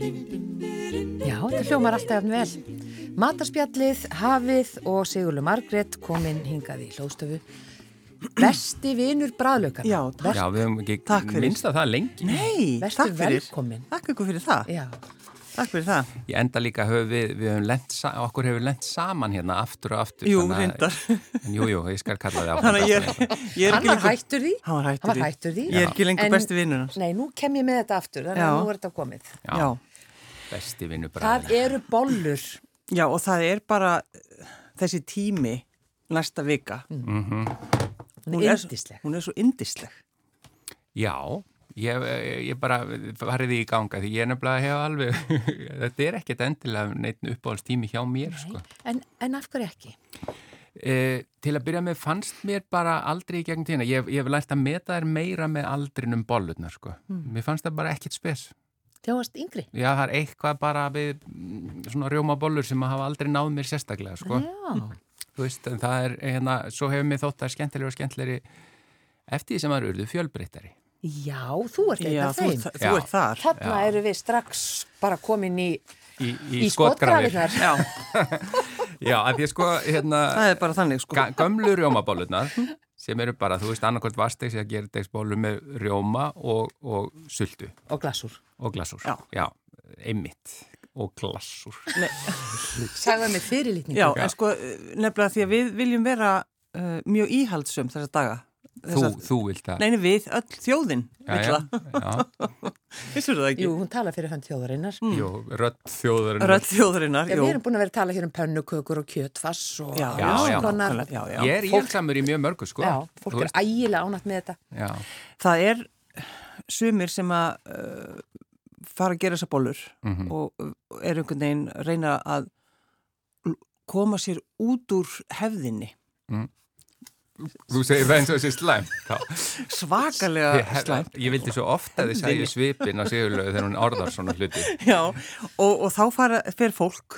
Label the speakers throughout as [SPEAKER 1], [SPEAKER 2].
[SPEAKER 1] Já, þetta hljómar alltaf jafn vel. Matarspjallið, Hafið og Sigurlu Margrét kominn hingað í hlóðstöfu. Besti vinur bræðlökar.
[SPEAKER 2] Já, takk.
[SPEAKER 3] Já, við höfum
[SPEAKER 2] Takk
[SPEAKER 3] ekki
[SPEAKER 2] fyrir.
[SPEAKER 3] minnst að það lengi.
[SPEAKER 2] Nei,
[SPEAKER 1] Vertu
[SPEAKER 2] takk fyrir.
[SPEAKER 1] velkomin.
[SPEAKER 2] Takk ykkur fyrir það.
[SPEAKER 1] Já,
[SPEAKER 2] Takk fyrir það.
[SPEAKER 3] Ég enda líka höfum við, við höfum lent, sa- okkur hefur lent saman hérna aftur og aftur.
[SPEAKER 2] Jú,
[SPEAKER 3] þannig að-
[SPEAKER 2] reyndar.
[SPEAKER 3] En jú, jú, ég skal kalla þið á
[SPEAKER 2] Þannig að ég, er- ég er
[SPEAKER 1] hann
[SPEAKER 2] ekki
[SPEAKER 1] var
[SPEAKER 2] lengur,
[SPEAKER 1] hættur því.
[SPEAKER 2] Hann var hættur
[SPEAKER 1] Hann var
[SPEAKER 2] því.
[SPEAKER 1] hættur því.
[SPEAKER 2] Ég er ekki lengur
[SPEAKER 1] En-
[SPEAKER 2] besti vinur hans.
[SPEAKER 1] Nei, nú kem ég með þetta aftur, þannig
[SPEAKER 2] Já.
[SPEAKER 1] að nú er þetta komið.
[SPEAKER 3] Já,
[SPEAKER 2] já.
[SPEAKER 3] besti
[SPEAKER 1] Það
[SPEAKER 3] vinnubræðin.
[SPEAKER 1] eru bollur.
[SPEAKER 2] já, og það er bara eh, þessi tími næsta vika.
[SPEAKER 1] Mm, Hún
[SPEAKER 2] er
[SPEAKER 1] er
[SPEAKER 2] svo-
[SPEAKER 1] yndisleg.
[SPEAKER 2] Hún er svo indisleg.
[SPEAKER 3] Já, ég, ég bara farið í ganga því ég nefnilega hef alveg, þetta er ekkert endilega neitt uppáhaldstími hjá mér, sko.
[SPEAKER 1] En, en af hverju ekki?
[SPEAKER 3] E, til að byrja með fannst mér bara aldrei í gegn tíðina. Ég, ég hef lært að meta þær meira með aldrinum bollurnar, sko. Mér fannst það bara ekkert spes.
[SPEAKER 1] Þegar hún varst yngri.
[SPEAKER 3] Já, það er eitthvað bara við mm, svona rjómabollur sem að hafa aldrei náð mér sérstaklega, sko.
[SPEAKER 2] Mhm.
[SPEAKER 1] Já.
[SPEAKER 3] Þú veist, en það er, hérna, svo hefur mér þótt að skemmtilegur og skemmtilegri eftir því sem það eru fjölbreyttari.
[SPEAKER 1] Já, þú ert
[SPEAKER 2] já,
[SPEAKER 1] eitthvað
[SPEAKER 2] þú,
[SPEAKER 1] þeim.
[SPEAKER 2] ert- þú
[SPEAKER 3] Já.
[SPEAKER 2] ert þar.
[SPEAKER 1] Þarna eru við strax bara komin í,
[SPEAKER 3] Í,
[SPEAKER 1] í, skotgrafirnar.
[SPEAKER 2] Já,
[SPEAKER 3] Já, af því að sko, hérna,
[SPEAKER 2] það er bara þannig sko.
[SPEAKER 3] ga- gömlu rjómabollurnar sem eru bara, þú veist, annarkvæmt vastegs eða gerðdegsbólur með rjóma og, og sultu
[SPEAKER 1] og glasur.
[SPEAKER 3] og glasúr.
[SPEAKER 2] Já.
[SPEAKER 3] einmitt og glasúr.
[SPEAKER 1] Sagðum við fyrirlitningu.
[SPEAKER 2] Já, en sko eh, nefnilega því að við viljum vera uh, mjög íhaldsum þessa daga.
[SPEAKER 3] Þú,
[SPEAKER 2] Þessa,
[SPEAKER 3] þú vilt það.
[SPEAKER 2] Neini við, öll þjóðin vill
[SPEAKER 3] já,
[SPEAKER 2] það.
[SPEAKER 3] já,
[SPEAKER 2] Vissur það ekki?
[SPEAKER 1] Jú, hún tala fyrir hönd þjóðarinnar.
[SPEAKER 3] jú, rödd þjóðurinn.
[SPEAKER 2] Mm. Rödd þjóðurinnar,
[SPEAKER 1] Já,
[SPEAKER 2] jú.
[SPEAKER 1] við erum búin að vera að tala hér um pönnukökur og kjötfass og
[SPEAKER 2] Já,
[SPEAKER 3] Já, já.
[SPEAKER 1] konar.
[SPEAKER 2] nákvæmlega, já, já.
[SPEAKER 3] Ég er íhaldsamur í mjög mörgu, sko.
[SPEAKER 1] Já,
[SPEAKER 3] Þú
[SPEAKER 1] fólk er ægilega ánætt með þetta.
[SPEAKER 3] Já,
[SPEAKER 2] Það er sumir sem að uh, fara að gera þessa bollur og uh, er einhvern veginn að reyna að l- koma sér út úr hefðinni.
[SPEAKER 3] þú segir það eins og þessi slæm þá.
[SPEAKER 2] Svakalega
[SPEAKER 3] Ég,
[SPEAKER 2] slæmt.
[SPEAKER 3] ég vildi svo ofta að þið segja svipin á sigurlögu þegar hún orðar svona hluti
[SPEAKER 2] Já, og, og þá fara, fer fólk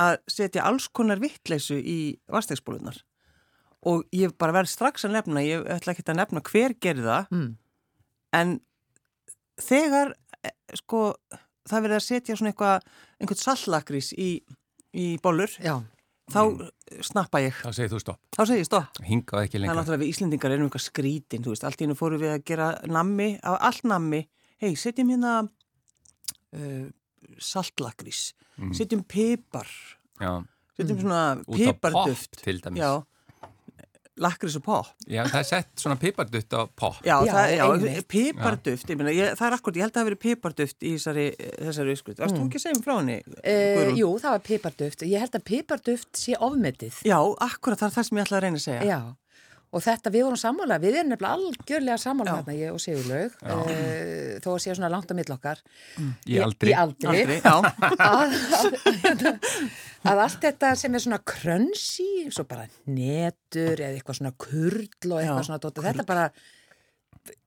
[SPEAKER 2] að setja alls konar vittleysu í vastegsbólunar. Og ég bara verð strax að nefna, ég ætla ekki að nefna hver gerði það,
[SPEAKER 1] Mm.
[SPEAKER 2] en þegar eh, sko það verið að setja svona eitthvað einhvern sallakrís í, í bollur
[SPEAKER 1] Já,
[SPEAKER 2] þá snappa ég,
[SPEAKER 3] þá segir þú stopp,
[SPEAKER 2] þá segi ég stopp
[SPEAKER 3] hingað ekki
[SPEAKER 2] það er
[SPEAKER 3] lengur
[SPEAKER 2] náttúrulega við Íslendingar erum eitthvað skrítin þú veist, allt í hennu fórum við að gera nammi af allt nammi, hei, setjum hérna uh, sallakrís setjum pipar
[SPEAKER 3] já,
[SPEAKER 2] setjum svona
[SPEAKER 3] Mhm. út á pop
[SPEAKER 2] piparduft
[SPEAKER 3] til dæmis
[SPEAKER 2] já, lakrís og pop
[SPEAKER 3] Já, það er sett svona pipardutt á pop
[SPEAKER 2] Já,
[SPEAKER 1] Já,
[SPEAKER 2] það, já
[SPEAKER 1] einmitt.
[SPEAKER 2] piparduft, ég meina, ég, það er akkurat, ég held að það hafi verið piparduft í þessari, þessari uskut. Varst þú
[SPEAKER 3] Mm.
[SPEAKER 2] ekki að segja um frá henni,
[SPEAKER 1] uh,
[SPEAKER 2] Guðrún?
[SPEAKER 1] jú, það var piparduft. Ég held að piparduft sé ofmetið.
[SPEAKER 2] Já, akkurat, það er það sem ég ætlaði að reyna að segja.
[SPEAKER 1] Já, og þetta við vorum sammála, við erum nefnilega algjörlega sammála
[SPEAKER 2] Já.
[SPEAKER 1] hérna, ég og Sigurlaug, uh, þó að séu svona langt á milli okkar.
[SPEAKER 3] í aldri
[SPEAKER 1] Í aldri.
[SPEAKER 2] Aldrei, já,
[SPEAKER 1] að, að, að allt þetta sem er svona krönsi, svo bara netur eða eitthvað svona kurl og eitthvað
[SPEAKER 2] Já,
[SPEAKER 1] svona dótið, þetta bara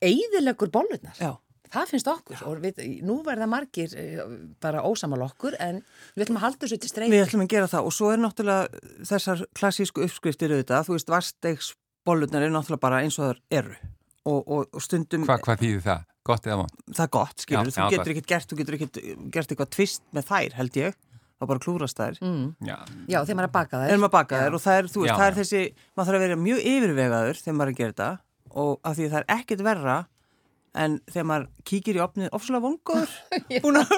[SPEAKER 1] eigðilegur bólurnar.
[SPEAKER 2] já,
[SPEAKER 1] Það finnst okkur og við, nú verða margir eh, bara ósamal okkur en við ætlum að halda þessu til streyfi.
[SPEAKER 2] við ætlum að gera það og svo er náttúrulega þessar klassísku uppskriftir auðvitað, þú veist, varstegsbollurnar eru náttúrulega bara eins og þar eru og, og, og stundum
[SPEAKER 3] Hva, hvað þýðir það? Gott eða vond?
[SPEAKER 2] það er gott, skilur,
[SPEAKER 3] Já,
[SPEAKER 2] þú
[SPEAKER 3] já,
[SPEAKER 2] getur
[SPEAKER 3] gott.
[SPEAKER 2] ekkert gert, þú getur ekkert gert eitthvað tvist með þær, held ég, þá bara klúrast þær. Mm.
[SPEAKER 3] Já,
[SPEAKER 1] Já, þegar maður er að baka þær.
[SPEAKER 2] erum að baka þær og það er, þú veist,
[SPEAKER 3] Já,
[SPEAKER 2] það er
[SPEAKER 3] já.
[SPEAKER 2] þessi, maður þarf að vera mjög yfirvegaður þegar maður er að gera þetta og af því að það er ekkert verra en þegar maður kíkir í opnið ofslega vongur, búin að-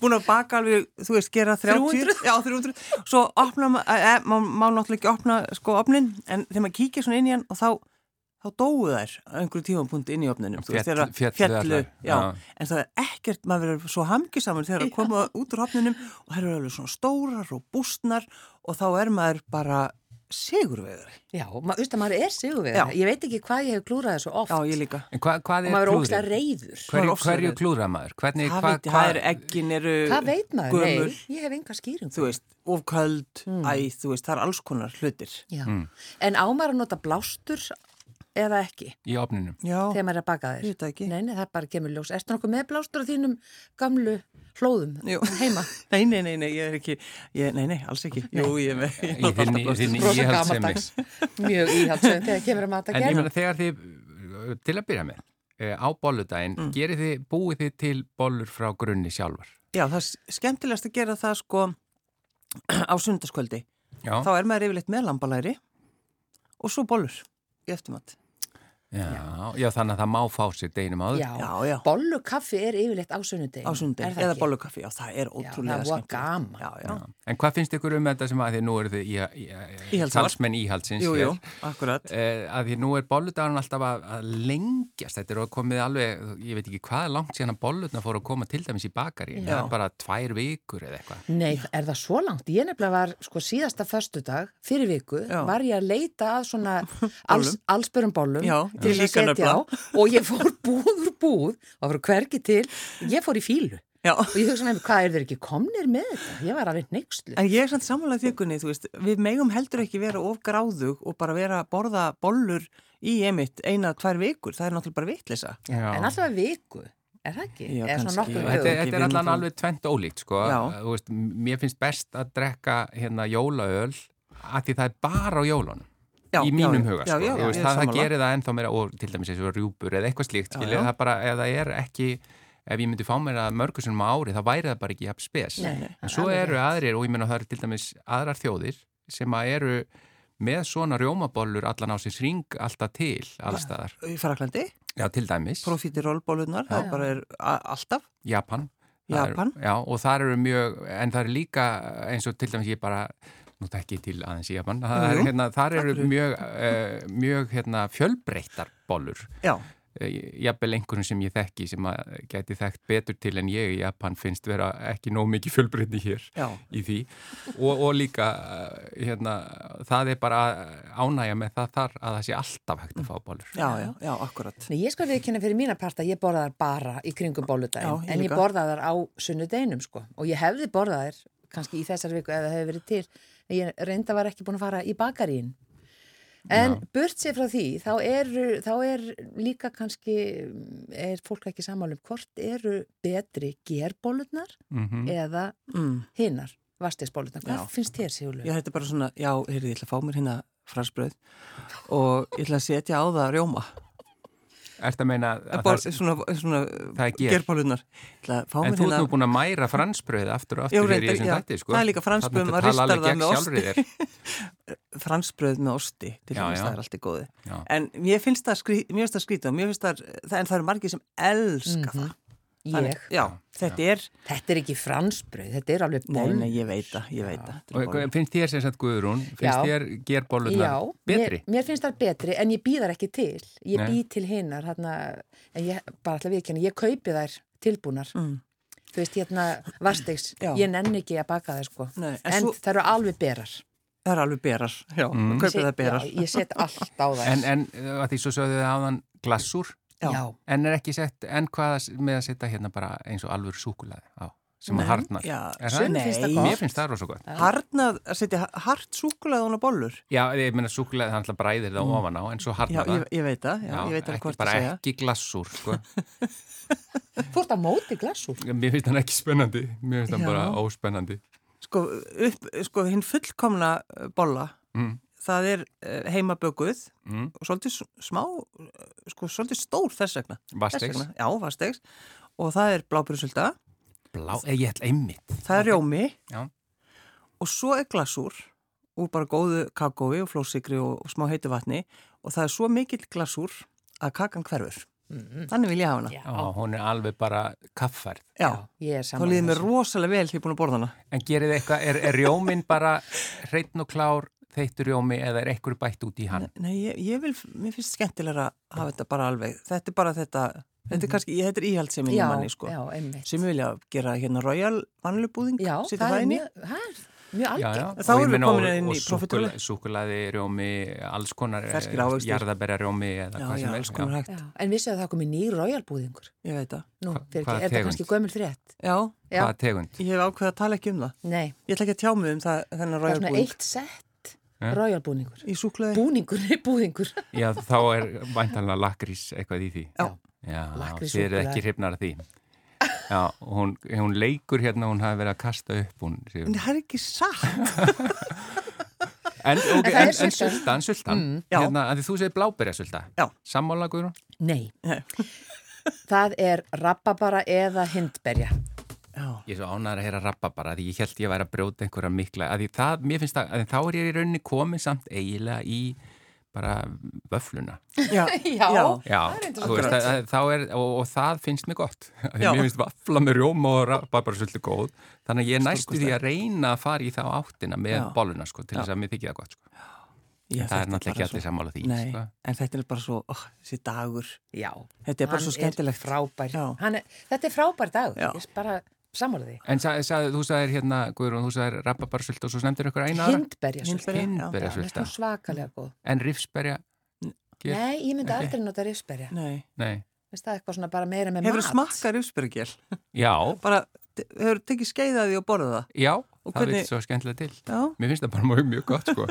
[SPEAKER 2] búin að baka alveg, þú veist, gera 30, já 300, svo opna maður, e, má, má náttúrulega ekki opna sko opnin, en þegar maður kíkir svona inn í hann og þá, þá dóu þær á einhverju tífampunkt inn í opninum, þú veist,
[SPEAKER 3] Féll-
[SPEAKER 2] þegar
[SPEAKER 3] féllu
[SPEAKER 2] fjallu,
[SPEAKER 3] allar,
[SPEAKER 2] já,
[SPEAKER 3] já.
[SPEAKER 2] en það er ekkert, maður verður svo hamgisamur þegar að koma út úr hopninum og það eru alveg svona stórar og bústnar og þá er maður bara sigurvegari.
[SPEAKER 1] Já, maður, veist að maður er sigur við
[SPEAKER 2] Já.
[SPEAKER 1] það. Ég veit ekki hvað ég hef klúrað þessu oft.
[SPEAKER 2] Já, ég líka.
[SPEAKER 3] en hva, hvað
[SPEAKER 1] og
[SPEAKER 3] er
[SPEAKER 1] maður er ógstlega
[SPEAKER 3] klúður?
[SPEAKER 1] reyður.
[SPEAKER 2] maður er
[SPEAKER 3] Hverju,
[SPEAKER 2] ofsalega
[SPEAKER 3] hverju
[SPEAKER 2] reiður.
[SPEAKER 3] klúðra maður? Hvernig,
[SPEAKER 2] Það
[SPEAKER 3] hva,
[SPEAKER 2] veit ég,
[SPEAKER 3] hva,
[SPEAKER 2] það er eggin eru
[SPEAKER 1] Hvað veit maður?
[SPEAKER 2] gömul,
[SPEAKER 1] Nei, ég hef enga skýring.
[SPEAKER 2] þú veist, of
[SPEAKER 3] Mm.
[SPEAKER 2] köld, æð, þú veist, það er alls konar hlutir.
[SPEAKER 1] Já. En ámar að nota blástur eða ekki
[SPEAKER 3] í opninum.
[SPEAKER 2] Já,
[SPEAKER 1] þegar maður er að baka
[SPEAKER 2] ég
[SPEAKER 1] þér?
[SPEAKER 2] veit það ekki.
[SPEAKER 1] Nei, nei, það bara kemur ljós. Ertu nokkuð með blástur á þínum gamlu hlóðum
[SPEAKER 2] Jú.
[SPEAKER 1] heima?
[SPEAKER 2] Nei, nei, nei, nei, ég er ekki, ég, nei, nei, alls ekki. Jú, ég er með,
[SPEAKER 3] Í þinni, í þinni
[SPEAKER 1] Rosa
[SPEAKER 3] íhaldsemi.
[SPEAKER 1] gamaldags. Mjög íhaldsöðum þegar kemur að mata
[SPEAKER 3] En ég
[SPEAKER 1] gerð.
[SPEAKER 3] meina þegar þið, uh, til að byrja með, uh, á bolludaginn, mm. gerir þið, búið þið til bollur frá grunni sjálfar?
[SPEAKER 2] Já, það er skemmtilegast að gera það sko á sundarskvöldi.
[SPEAKER 3] Já.
[SPEAKER 2] Þá er maður yfirleitt með lambalæri og svo bollur í eftirmatt.
[SPEAKER 3] Já, já, þannig að það má fá sér deginum áður.
[SPEAKER 1] Já,
[SPEAKER 2] Já, já.
[SPEAKER 1] bollu kaffi er yfirleitt á sunnudegi.
[SPEAKER 2] Á sundi, eða bollukaffi, já, það er ótrúlega
[SPEAKER 1] það er voða gaman.
[SPEAKER 2] Já, já.
[SPEAKER 3] Já. En hvað finnst ykkur um þetta sem að því nú eru þið í- í- í-
[SPEAKER 2] Íhaldssamar.
[SPEAKER 3] talsmenn íhaldsins?
[SPEAKER 2] Jú,
[SPEAKER 3] hér?
[SPEAKER 2] jú, akkurat.
[SPEAKER 3] Eh, að því nú er bolludagurinn alltaf að, að lengjast þetta er að komið alveg, ég veit ekki hvað er langt síðan að bollutna fóru að koma til dæmis í bakari það
[SPEAKER 2] Já.
[SPEAKER 3] er bara tvær vikur eða eitthvað
[SPEAKER 1] Nei, er það svo langt? Ég nefnilega var sko síðasta föstudag, fyrir viku,
[SPEAKER 2] Já.
[SPEAKER 1] var ég að leita að svona alls, allsbörum bollum
[SPEAKER 2] Já,
[SPEAKER 1] til
[SPEAKER 2] ég
[SPEAKER 1] að
[SPEAKER 2] líka
[SPEAKER 1] setja á
[SPEAKER 2] nefnilega.
[SPEAKER 1] og ég fór búð úr búð og fór hvergi til, ég fór í fílu
[SPEAKER 2] Já.
[SPEAKER 1] og ég hugsa nefnilega, hvað er þeir ekki komnir með þetta? Ég var alveg neykslu.
[SPEAKER 2] En ég er samt samanlega þjökunni, þú veist, við megum heldur ekki vera of gráðug og bara vera að borða bollur í emitt eina tvær vikur, það er náttúrulega bara vitlisa.
[SPEAKER 3] Já.
[SPEAKER 1] En alltaf að viku, er það ekki?
[SPEAKER 2] Já,
[SPEAKER 1] Eða svona
[SPEAKER 2] kannski.
[SPEAKER 1] nokkuð
[SPEAKER 3] þetta,
[SPEAKER 1] dögum?
[SPEAKER 2] ekki
[SPEAKER 3] þetta er allan
[SPEAKER 2] vinna
[SPEAKER 3] alveg tvent ólíkt sko.
[SPEAKER 2] Já.
[SPEAKER 3] Þú veist, mér finnst best að drekka hérna jólaöl að því það er bara á jólunum
[SPEAKER 2] Já,
[SPEAKER 3] í mínum huga
[SPEAKER 2] já,
[SPEAKER 3] sko.
[SPEAKER 2] já,
[SPEAKER 3] Þú
[SPEAKER 2] já, ég
[SPEAKER 3] veist,
[SPEAKER 2] er
[SPEAKER 3] það, það
[SPEAKER 2] sammála.
[SPEAKER 3] gerir það ennþá meira og til dæmis eins og rjúpur eða eitthvað slíkt
[SPEAKER 2] Já,
[SPEAKER 3] skilja,
[SPEAKER 2] já.
[SPEAKER 3] það bara, eða er ekki ef ég myndi fá mér að mörgusunum á ári þá væri það bara ekki jafn spes
[SPEAKER 1] Nei, nei,
[SPEAKER 3] en svo
[SPEAKER 1] alveg
[SPEAKER 3] eru aðrir og ég menna það eru til dæmis aðrar þjóðir sem að eru með svona rjómabollur allan á sinns ring alltaf til allstaðar,
[SPEAKER 2] Í Fraklandi,
[SPEAKER 3] já til dæmis
[SPEAKER 2] profiterolbólurnar,
[SPEAKER 1] Já.
[SPEAKER 2] það bara er a- alltaf.
[SPEAKER 3] Japan Það eru-
[SPEAKER 2] Japan.
[SPEAKER 3] já, og það eru mjög, en það eru líka eins og til dæmis ég bara nú tekki til aðeins í Japan það
[SPEAKER 2] Jú,
[SPEAKER 3] eru,
[SPEAKER 2] jú.
[SPEAKER 3] hérna, þar eru
[SPEAKER 2] fyrir.
[SPEAKER 3] mjög, uh, mjög hérna, fjölbreyttar bollur Eh,
[SPEAKER 2] Já,
[SPEAKER 3] jafnvel einhverjum sem ég þekki sem að geti þekkt betur til en ég í Japan finnst vera ekki nóg mikið fjölbreytni hér
[SPEAKER 2] já.
[SPEAKER 3] í því og, og líka eh, hérna, það er bara ánægja með það þar að það sé alltaf hægt að fá bólur
[SPEAKER 2] Mm. Já, já, já, akkurat.
[SPEAKER 1] Nei, ég skal viðkynna fyrir mína part að ég borða þar bara í kringum bóludaginn,
[SPEAKER 2] Já, ég
[SPEAKER 1] en ég
[SPEAKER 2] líka.
[SPEAKER 1] borða þar á sunnudeginum sko, og ég hefði borða þær kannski í þessar viku ef það hefði verið til, en ég reynda var ekki búin að fara í bakarín. En burt sér frá því, þá, eru, þá er líka kannski, er fólk ekki sammálum, hvort eru betri gerbólutnar
[SPEAKER 3] mm
[SPEAKER 1] eða
[SPEAKER 2] Mm.
[SPEAKER 1] hinnar, vastisbólutnar, hvað
[SPEAKER 2] Já.
[SPEAKER 1] finnst þér Sigurlu?
[SPEAKER 2] Já, þetta er bara svona, já, heyrði, ég ætla að fá mér hérna fransbröð og ég ætla að setja á það rjóma.
[SPEAKER 3] Ertu að meina að
[SPEAKER 2] Bor,
[SPEAKER 3] það,
[SPEAKER 2] svona, svona
[SPEAKER 3] það er ger.
[SPEAKER 2] gerbólunar. Ég ætla að fá
[SPEAKER 3] en
[SPEAKER 2] mér
[SPEAKER 3] þú ert
[SPEAKER 2] hérna...
[SPEAKER 3] nú búin að mæra fransbröð aftur og
[SPEAKER 2] Já,
[SPEAKER 3] aftur hér í
[SPEAKER 2] reyndar,
[SPEAKER 3] þessum
[SPEAKER 2] já.
[SPEAKER 3] þætti sko.
[SPEAKER 2] Það er líka fransbröð,
[SPEAKER 3] Þarna
[SPEAKER 2] maður
[SPEAKER 3] ertu að tala
[SPEAKER 2] ristar
[SPEAKER 3] alveg
[SPEAKER 2] það með
[SPEAKER 3] gegn sjálfri þér.
[SPEAKER 2] fransbröð með osti til þess
[SPEAKER 3] Já, já.
[SPEAKER 2] að það er allt í góði
[SPEAKER 3] Já.
[SPEAKER 2] en mér finnst það, skrí, mér finnst það skrítið og mér finnst það, það, en það eru margir sem elska það
[SPEAKER 1] Ég,
[SPEAKER 2] já, þetta er,
[SPEAKER 1] þetta er ekki fransbröð, þetta er alveg
[SPEAKER 2] nei,
[SPEAKER 1] ból.
[SPEAKER 2] nei, ég veit það ég veit það, þetta
[SPEAKER 3] og
[SPEAKER 2] eru bollur.
[SPEAKER 3] hvað- finnst þér sem sagt Guðrún finnst
[SPEAKER 1] Já.
[SPEAKER 3] þér
[SPEAKER 1] Já,
[SPEAKER 3] gerbólurnar
[SPEAKER 1] mér,
[SPEAKER 3] betri?
[SPEAKER 1] mér finnst það betri en ég býðar ekki til, ég
[SPEAKER 3] Nei.
[SPEAKER 1] býð til hinnar hérna, en ég bara ætla að viðkynna ég kaupi þær tilbúnar
[SPEAKER 2] Mm.
[SPEAKER 1] þú veist hérna vastegs
[SPEAKER 2] Já.
[SPEAKER 1] ég nenni ekki að baka þær sko
[SPEAKER 2] Nei, en
[SPEAKER 1] en
[SPEAKER 2] svo-
[SPEAKER 1] það eru alveg berar
[SPEAKER 2] það eru alveg berar, já, mm. kaupið það berar
[SPEAKER 1] já, ég set allt á þær
[SPEAKER 3] En, en uh, að því svo sögðu þið áðan glassúr
[SPEAKER 1] já.
[SPEAKER 2] já.
[SPEAKER 3] En er ekki sett, en hvað með að setja hérna bara eins og alvöru súkulaði á, sem að harnar?
[SPEAKER 2] já,
[SPEAKER 3] er
[SPEAKER 1] sumum
[SPEAKER 3] það?
[SPEAKER 1] finnst það
[SPEAKER 2] Nei,
[SPEAKER 1] gott.
[SPEAKER 3] Mér finnst það rosa gott.
[SPEAKER 2] harnað, að setja hart súkulega hún á bollur
[SPEAKER 3] Já, ég meina súkulaði það alltaf bræðir það ofan á, en
[SPEAKER 2] Mm.
[SPEAKER 3] svo
[SPEAKER 2] já,
[SPEAKER 3] harnar
[SPEAKER 2] ég,
[SPEAKER 3] það.
[SPEAKER 2] ég veit það, já, ég veit það
[SPEAKER 3] ekki-
[SPEAKER 2] hvort
[SPEAKER 3] bara
[SPEAKER 2] að segja
[SPEAKER 3] ekki glassúr, sko.
[SPEAKER 1] þú ert að móti glassúr
[SPEAKER 3] Mér finnst hann ekki spennandi, mér finnst hann
[SPEAKER 2] Já.
[SPEAKER 3] bara óspennandi.
[SPEAKER 2] sko, upp, sko hinn fullkomna uh, bolla
[SPEAKER 3] Mm.
[SPEAKER 2] það er uh, heimabökuð
[SPEAKER 3] Mm.
[SPEAKER 2] og svolítið s- smá, uh, sko svolítið stór þess vegna. Þess
[SPEAKER 3] Vastegs,
[SPEAKER 2] vegna, Já, vastegs. Og það er blábyrjusulta,
[SPEAKER 3] blá, eða ég ætla einmitt.
[SPEAKER 2] það er rjómi
[SPEAKER 3] Já.
[SPEAKER 2] og svo er glasúr úr bara góðu kakói og flóssikri og, og smá heitu vatni og það er svo mikill glasúr að kakan hverfur. Þannig vil ég hafa hana.
[SPEAKER 1] Mhm. já,
[SPEAKER 3] Já, hún er alveg bara kaffærð.
[SPEAKER 2] Já,
[SPEAKER 1] ég er
[SPEAKER 2] þá
[SPEAKER 1] saman
[SPEAKER 2] líður mér rosalega vel því ég er búin að borða hana.
[SPEAKER 3] En gerið þið eitthvað, er, er rjóminn bara hreitn og klár, þeittur rjómi eða er eitthvað bætt út í hann?
[SPEAKER 2] Nei, ég, ég vil, mér finnst skemmtilega að hafa þetta bara alveg. Þetta er bara þetta, þetta er kannski, þetta er íhald sem ég
[SPEAKER 1] Mhm. já,
[SPEAKER 2] manni, sko.
[SPEAKER 1] já, einmitt
[SPEAKER 2] sem vilja gera hérna Royal vanlubúðing,
[SPEAKER 1] já,
[SPEAKER 2] sitja
[SPEAKER 1] það er
[SPEAKER 2] það inn í.
[SPEAKER 1] mjög, það er mjög
[SPEAKER 3] Já, já.
[SPEAKER 1] algjörn
[SPEAKER 2] Þá
[SPEAKER 3] Og ég
[SPEAKER 2] erum við
[SPEAKER 3] meina,
[SPEAKER 2] komin
[SPEAKER 3] og-
[SPEAKER 2] inn
[SPEAKER 3] og
[SPEAKER 2] í prófitúrlega.
[SPEAKER 3] súkkula- Súkkulaði, rjómi, alls konar
[SPEAKER 2] Ferskir ávextir.
[SPEAKER 3] jarðaberjarjómi eða
[SPEAKER 2] Já,
[SPEAKER 3] hvað
[SPEAKER 2] já,
[SPEAKER 3] sem
[SPEAKER 2] alls
[SPEAKER 3] helst
[SPEAKER 2] konar
[SPEAKER 3] já.
[SPEAKER 2] hægt,
[SPEAKER 1] en vissu að það komi nýr rájálbúðingur
[SPEAKER 2] ég veit það.
[SPEAKER 1] nú,
[SPEAKER 3] Hva-
[SPEAKER 1] fyrir
[SPEAKER 3] hvaða
[SPEAKER 1] ekki, er það
[SPEAKER 3] tegund?
[SPEAKER 1] kannski gömul frétt
[SPEAKER 2] Já,
[SPEAKER 1] já,
[SPEAKER 3] Hvaða tegund?
[SPEAKER 2] ég hef ákveð að tala ekki um það.
[SPEAKER 1] nei
[SPEAKER 2] Ég ætla ekki að tjá mig um það, þennan
[SPEAKER 1] það er
[SPEAKER 2] Royal
[SPEAKER 1] svona
[SPEAKER 2] búðing.
[SPEAKER 1] eitt sett
[SPEAKER 3] Ja.
[SPEAKER 1] Royal búningur.
[SPEAKER 2] í súklaði
[SPEAKER 1] Búningur, nei, búðingur.
[SPEAKER 3] Já, þá er væntanlega lakrís eitthvað í því.
[SPEAKER 2] Já.
[SPEAKER 3] Já,
[SPEAKER 1] Lakkrís
[SPEAKER 3] þið eru
[SPEAKER 1] súkkulaði.
[SPEAKER 3] ekki hrifnar af því. Já, hún, hún leikur hérna, hún hafi verið að kasta upp hún. Sif.
[SPEAKER 2] en það er ekki satt
[SPEAKER 3] En, okay,
[SPEAKER 1] En það
[SPEAKER 3] en,
[SPEAKER 1] er
[SPEAKER 3] en
[SPEAKER 1] sultan.
[SPEAKER 3] sultan, sultan. Mm,
[SPEAKER 2] Já.
[SPEAKER 3] hérna, að því þú segir blábyrja sulta.
[SPEAKER 2] Já.
[SPEAKER 3] Sammála, Guðrún?
[SPEAKER 1] Nei,
[SPEAKER 2] Nei.
[SPEAKER 1] það er rababara eða hindberja.
[SPEAKER 2] já,
[SPEAKER 3] Ég er svo ánæður að heyra rappa bara því ég held ég væri að brjóta einhverja mikla að því það, mér finnst það, að þá er ég í rauninni komið samt eiginlega í bara vöfluna.
[SPEAKER 2] já,
[SPEAKER 1] Já.
[SPEAKER 3] Já,
[SPEAKER 1] Það er reyndar
[SPEAKER 3] þú veist,
[SPEAKER 1] svolítið.
[SPEAKER 3] að, að, þá er, og, og það finnst mér gott. Af því
[SPEAKER 2] Já.
[SPEAKER 3] Mér finnst vafla með rjóma og rappa bara svolítið góð. Þannig að ég er næstu því að reyna að fara í þá áttina með
[SPEAKER 2] Já.
[SPEAKER 3] bolluna, sko, til þess að mér þykja það gott, sko.
[SPEAKER 2] Ég,
[SPEAKER 3] það er
[SPEAKER 2] þetta
[SPEAKER 3] náttúrulega ekki
[SPEAKER 2] bara
[SPEAKER 3] allir
[SPEAKER 2] svo-
[SPEAKER 3] sammála því,
[SPEAKER 2] Nei,
[SPEAKER 3] sko.
[SPEAKER 2] en þetta er bara svo, oh, þessi dagur
[SPEAKER 1] Já.
[SPEAKER 2] Þetta er bara svo skemmtilegt.
[SPEAKER 1] Hann er frábær.
[SPEAKER 2] Já.
[SPEAKER 1] Hann Er, þetta er frábær dag.
[SPEAKER 2] Já.
[SPEAKER 1] Ég er bara samanlega því.
[SPEAKER 3] En sa, sa, þú sagðir hérna, Guðrún, þú sagðir rappa bara svolítið og svo nefndir ykkur eina aðra.
[SPEAKER 1] Hindberja sulta.
[SPEAKER 2] Hindberja, já.
[SPEAKER 1] Hún
[SPEAKER 3] Hindberja
[SPEAKER 1] er
[SPEAKER 3] sulta.
[SPEAKER 1] svo svakalega góð.
[SPEAKER 3] En rifsberja, Ég-
[SPEAKER 1] Nei, ég myndi aldrei nota rifsberja.
[SPEAKER 2] Nei.
[SPEAKER 3] nei,
[SPEAKER 1] Veist það eitthvað svona bara meira með
[SPEAKER 2] Hefur
[SPEAKER 1] mat?
[SPEAKER 2] smakkað rjúspyrgjel?
[SPEAKER 3] já,
[SPEAKER 2] Bara, hefur tekið skeiðaði og borðað það?
[SPEAKER 3] já, það
[SPEAKER 2] hvernig-
[SPEAKER 3] vil svo skemmtilega til.
[SPEAKER 2] Já,
[SPEAKER 3] Mér finnst það bara mjög, mjög gott sko.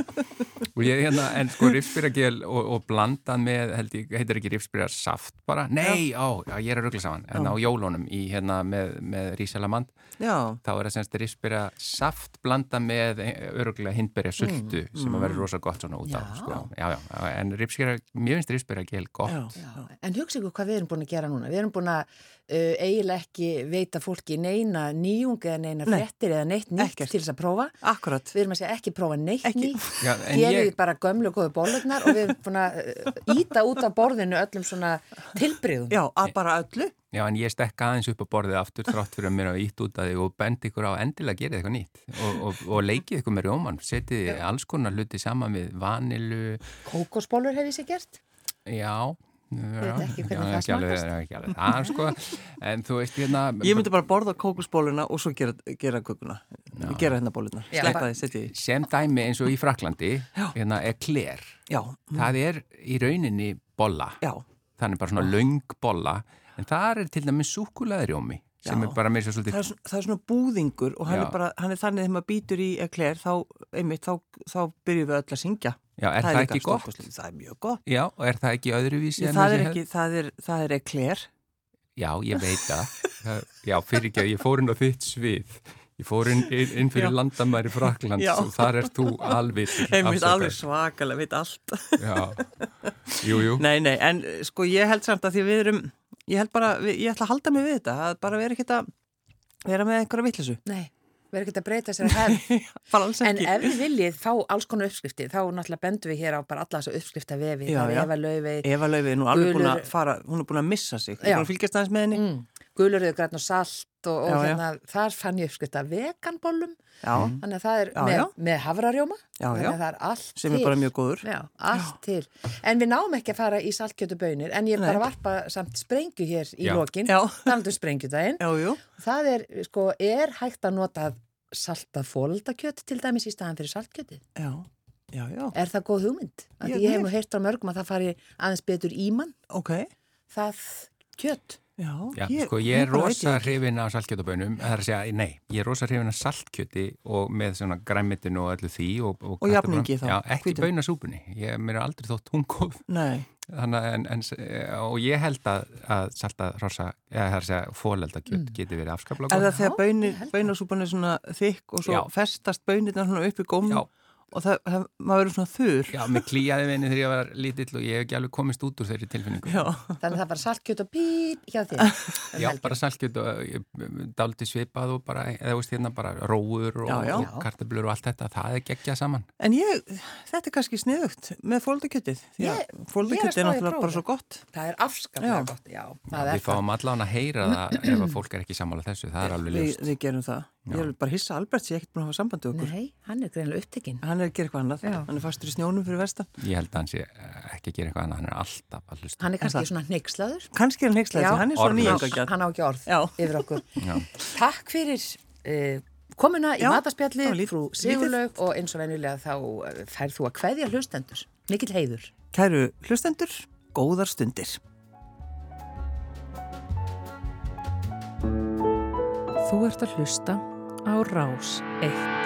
[SPEAKER 3] og ég hérna, en sko rifsbyrjagel og, og blandað með, held ég, heitir ekki rifsbyrjarsaft bara, nei, á, já, ég er að ruggla saman, en á jólunum í hérna með, með rísalamand,
[SPEAKER 2] já,
[SPEAKER 3] þá er það semst rifsbyrjarsaft blandað með öruglega hindbyrja sultu sem að vera rosa gott svona út á,
[SPEAKER 1] Já.
[SPEAKER 3] sko, já, já, en rifsbyrja, mér finnst rifsbyrjagel
[SPEAKER 2] já,
[SPEAKER 3] gott,
[SPEAKER 1] Já, en hugsa ykkur hvað við erum búin að gera núna. Við erum búin að uh, eiginlega ekki veita fólki neina nýjung eða neina
[SPEAKER 2] Nei.
[SPEAKER 1] frettir eða neitt nýtt
[SPEAKER 2] Ekkert.
[SPEAKER 1] til þess að prófa.
[SPEAKER 2] akkurat.
[SPEAKER 1] Við erum að segja ekki prófa neitt
[SPEAKER 2] Ekki.
[SPEAKER 1] nýtt.
[SPEAKER 3] Já, en
[SPEAKER 1] Gerið
[SPEAKER 3] ég-
[SPEAKER 1] ég... bara gömlu og góðu bólurnar og við erum búin að uh, íta út af borðinu öllum svona tilbriðum.
[SPEAKER 2] Já, að bara öllu.
[SPEAKER 3] já, en ég stekka aðeins upp á borðið aftur þrátt fyrir að mér að ítt út að þig og bendi ykkur á að endilega gerið eitthvað nýtt og, og, og leikið ykkur með rjóman, setið alls konar hluti saman við vanilu,
[SPEAKER 1] Kókosbólur hef ég sér gert.
[SPEAKER 3] Já, ég
[SPEAKER 1] veit ekki hvernig það
[SPEAKER 3] ekki alveg,
[SPEAKER 1] smakkast.
[SPEAKER 3] ekki alveg það sko, en þú veist hérna,
[SPEAKER 2] Ég myndi bara borða kókusbóluna og svo gera, gera kökuna. Gera hérna bólunar.
[SPEAKER 1] Já.
[SPEAKER 2] Sleppa því, setja því.
[SPEAKER 3] sem dæmi eins og í Fraklandi, hérna ekler,
[SPEAKER 2] Já,
[SPEAKER 3] Mm. það er í rauninni bolla,
[SPEAKER 2] já, Ah.
[SPEAKER 3] þannig bara svona löng bolla, en þar er til dæmi súkulaðurjómi sem
[SPEAKER 2] Já.
[SPEAKER 3] er bara með svo
[SPEAKER 2] það
[SPEAKER 3] svolítið,
[SPEAKER 2] er, svona- það er svona búðingur og hann
[SPEAKER 3] Já.
[SPEAKER 2] er bara, hann er þannig þegar maður býtur í ekler, þá, einmitt, þá, þá byrjum við öll að syngja.
[SPEAKER 3] Já, er það
[SPEAKER 2] líka
[SPEAKER 3] ekki gott?
[SPEAKER 2] stórkostlegt. Það er mjög gott.
[SPEAKER 3] já, og er það ekki öðruvísi?
[SPEAKER 2] Ég, það,
[SPEAKER 3] en þessi
[SPEAKER 2] er
[SPEAKER 3] hefð?
[SPEAKER 2] ekki, það, er, það er ekler.
[SPEAKER 3] Já, ég veit það. Það- Já, fyrir ekki að ég fór inn á þitt svið. Ég fór inn, inn, inn fyrir
[SPEAKER 2] Já.
[SPEAKER 3] landamæri Fraklands
[SPEAKER 2] Já.
[SPEAKER 3] og þar ert þú alvitur.
[SPEAKER 2] Einmitt alveg
[SPEAKER 3] afsakaður.
[SPEAKER 2] svakalega, veit allt.
[SPEAKER 3] Já, jú, jú.
[SPEAKER 2] Nei, nei, en eh, sko ég held samt að því við erum, ég held bara, við- ég ætla að halda mig við þetta, að bara vera ekkert að vera með einhverja vittlisu.
[SPEAKER 1] Nei, við erum ekki að breyta sér að hefð.
[SPEAKER 2] Bara alls
[SPEAKER 1] En
[SPEAKER 2] ekki.
[SPEAKER 1] ef þið viljið fá alls konar uppskrifti, þá náttúrulega bendum við hér á bara alla þessa uppskrifta vefi.
[SPEAKER 2] Já,
[SPEAKER 1] það er
[SPEAKER 2] já.
[SPEAKER 1] Eva Laufey,
[SPEAKER 2] Eva Laufey er nú alveg búin að
[SPEAKER 1] Gulur-
[SPEAKER 2] fara, hún er búin að missa sig, hún
[SPEAKER 1] Já.
[SPEAKER 2] er búin að fylgjast aðeins með henni.
[SPEAKER 1] mm, gulurðu, græn og salt og, og
[SPEAKER 2] Já, já.
[SPEAKER 1] hérna, þar fann ég uppskrift að veganbólum
[SPEAKER 2] Já,
[SPEAKER 1] þannig að það er
[SPEAKER 2] Já,
[SPEAKER 1] með,
[SPEAKER 2] já.
[SPEAKER 1] með hafrarjóma
[SPEAKER 2] Já,
[SPEAKER 1] þannig
[SPEAKER 2] já.
[SPEAKER 1] að það er allt
[SPEAKER 2] sem
[SPEAKER 1] til
[SPEAKER 2] er bara mjög góður.
[SPEAKER 1] Já, allt til, en við náum ekki að fara í saltkjötu bönir, en ég er
[SPEAKER 2] Nei.
[SPEAKER 1] bara að varpa samt sprengju hér í
[SPEAKER 3] Já.
[SPEAKER 1] lokin
[SPEAKER 2] Já.
[SPEAKER 1] talandu sprengjudaginn,
[SPEAKER 2] Já, jú.
[SPEAKER 1] það er sko, er hægt að nota saltað fóldakjöt til dæmis í staðan fyrir saltkjöti,
[SPEAKER 2] Já, já, já.
[SPEAKER 1] er það góð hugmynd? Af
[SPEAKER 2] Ég
[SPEAKER 1] því ég
[SPEAKER 2] vil.
[SPEAKER 1] hef nú heyrt á mörgum að það fari aðeins betur í mann,
[SPEAKER 2] Ok,
[SPEAKER 1] það kjöt
[SPEAKER 2] já.
[SPEAKER 3] Já, sko, ég er
[SPEAKER 2] bara veit
[SPEAKER 3] rosa
[SPEAKER 2] ég ekki.
[SPEAKER 3] hrifin af saltkjötabönum, það er að segja, nei, ég er rosa hrifin af saltkjöti og með svona græmitinu og öllu því. Og, og,
[SPEAKER 2] Og jafningi þá,
[SPEAKER 3] Já, ekki
[SPEAKER 2] hvítum.
[SPEAKER 3] bönasúpunni, ég, mér er aldrei þótt hún góð,
[SPEAKER 2] Nei,
[SPEAKER 3] þannig að, en, en, s- og ég held að, að salta rosa, eða það er að segja, fóleldakjöt geti verið afskaplega
[SPEAKER 2] Mm. er
[SPEAKER 3] góð.
[SPEAKER 2] það þegar
[SPEAKER 1] ég
[SPEAKER 2] bönir,
[SPEAKER 1] held það.
[SPEAKER 2] bönasúpan er svona þykk og svo
[SPEAKER 3] Já.
[SPEAKER 2] festast bönirna svona upp í gómnum
[SPEAKER 3] Já.
[SPEAKER 2] og það, það, maður verður svona þurr.
[SPEAKER 3] Já, mér klíjaði minni þegar ég var lítill og ég hef ekki alveg komist út úr þeirri tilfinningu.
[SPEAKER 2] Já.
[SPEAKER 1] þannig að það var saltkjöt og píp hjá þér um
[SPEAKER 3] Já,
[SPEAKER 1] helgina.
[SPEAKER 3] bara saltkjöt og daldi svipað og bara, eða þú veist hérna, bara róur og,
[SPEAKER 2] Já, já.
[SPEAKER 3] og kartablur og allt þetta, það er geggjað saman.
[SPEAKER 2] En ég, þetta er kannski sniðugt með fóldakjötið. því
[SPEAKER 1] Ég-
[SPEAKER 2] að
[SPEAKER 1] ég er að
[SPEAKER 2] Fóldakjötið
[SPEAKER 1] spá í
[SPEAKER 2] er náttúrulega bara
[SPEAKER 1] prófa.
[SPEAKER 2] svo gott.
[SPEAKER 1] Það er afskaplega
[SPEAKER 2] Já.
[SPEAKER 1] gott, já. Það er
[SPEAKER 3] Við
[SPEAKER 1] það.
[SPEAKER 3] fáum allan að heyra það ef að fólk er ekki sammála þessu, það er alveg
[SPEAKER 2] Við,
[SPEAKER 3] ljóst.
[SPEAKER 2] við gerum það. Ég er bara að hissa að Albert sem ég ekkert búin að hafa sambandi okkur.
[SPEAKER 1] Nei, hann er greinlega upptekinn.
[SPEAKER 2] Hann er að gera eitthvað annað.
[SPEAKER 1] Já.
[SPEAKER 2] Hann er fastur í snjónum fyrir vestan.
[SPEAKER 3] Ég held að hann sé eh, ekki að gera eitthvað annað, hann er alltaf að hlusta.
[SPEAKER 1] Hann er kannski
[SPEAKER 2] það?
[SPEAKER 1] svona hneikslaður.
[SPEAKER 2] Kannski er hann heikslaði
[SPEAKER 1] Já.
[SPEAKER 2] því hann er svo
[SPEAKER 3] Orðlaus.
[SPEAKER 2] nýjöngagjart.
[SPEAKER 1] Hann á ekki orð
[SPEAKER 2] Já.
[SPEAKER 1] yfir okkur.
[SPEAKER 3] Já.
[SPEAKER 1] Takk fyrir uh, komuna í
[SPEAKER 2] Já,
[SPEAKER 1] mataspjalli,
[SPEAKER 2] það var lít-
[SPEAKER 1] frú Sigurlaug og eins og venjulega þá eh, færð þú að kveðja hlustendur. Mikill heiður.
[SPEAKER 2] Kæru hlustendur, góðar stundir.
[SPEAKER 4] Þú ert að hlusta á Rás 1.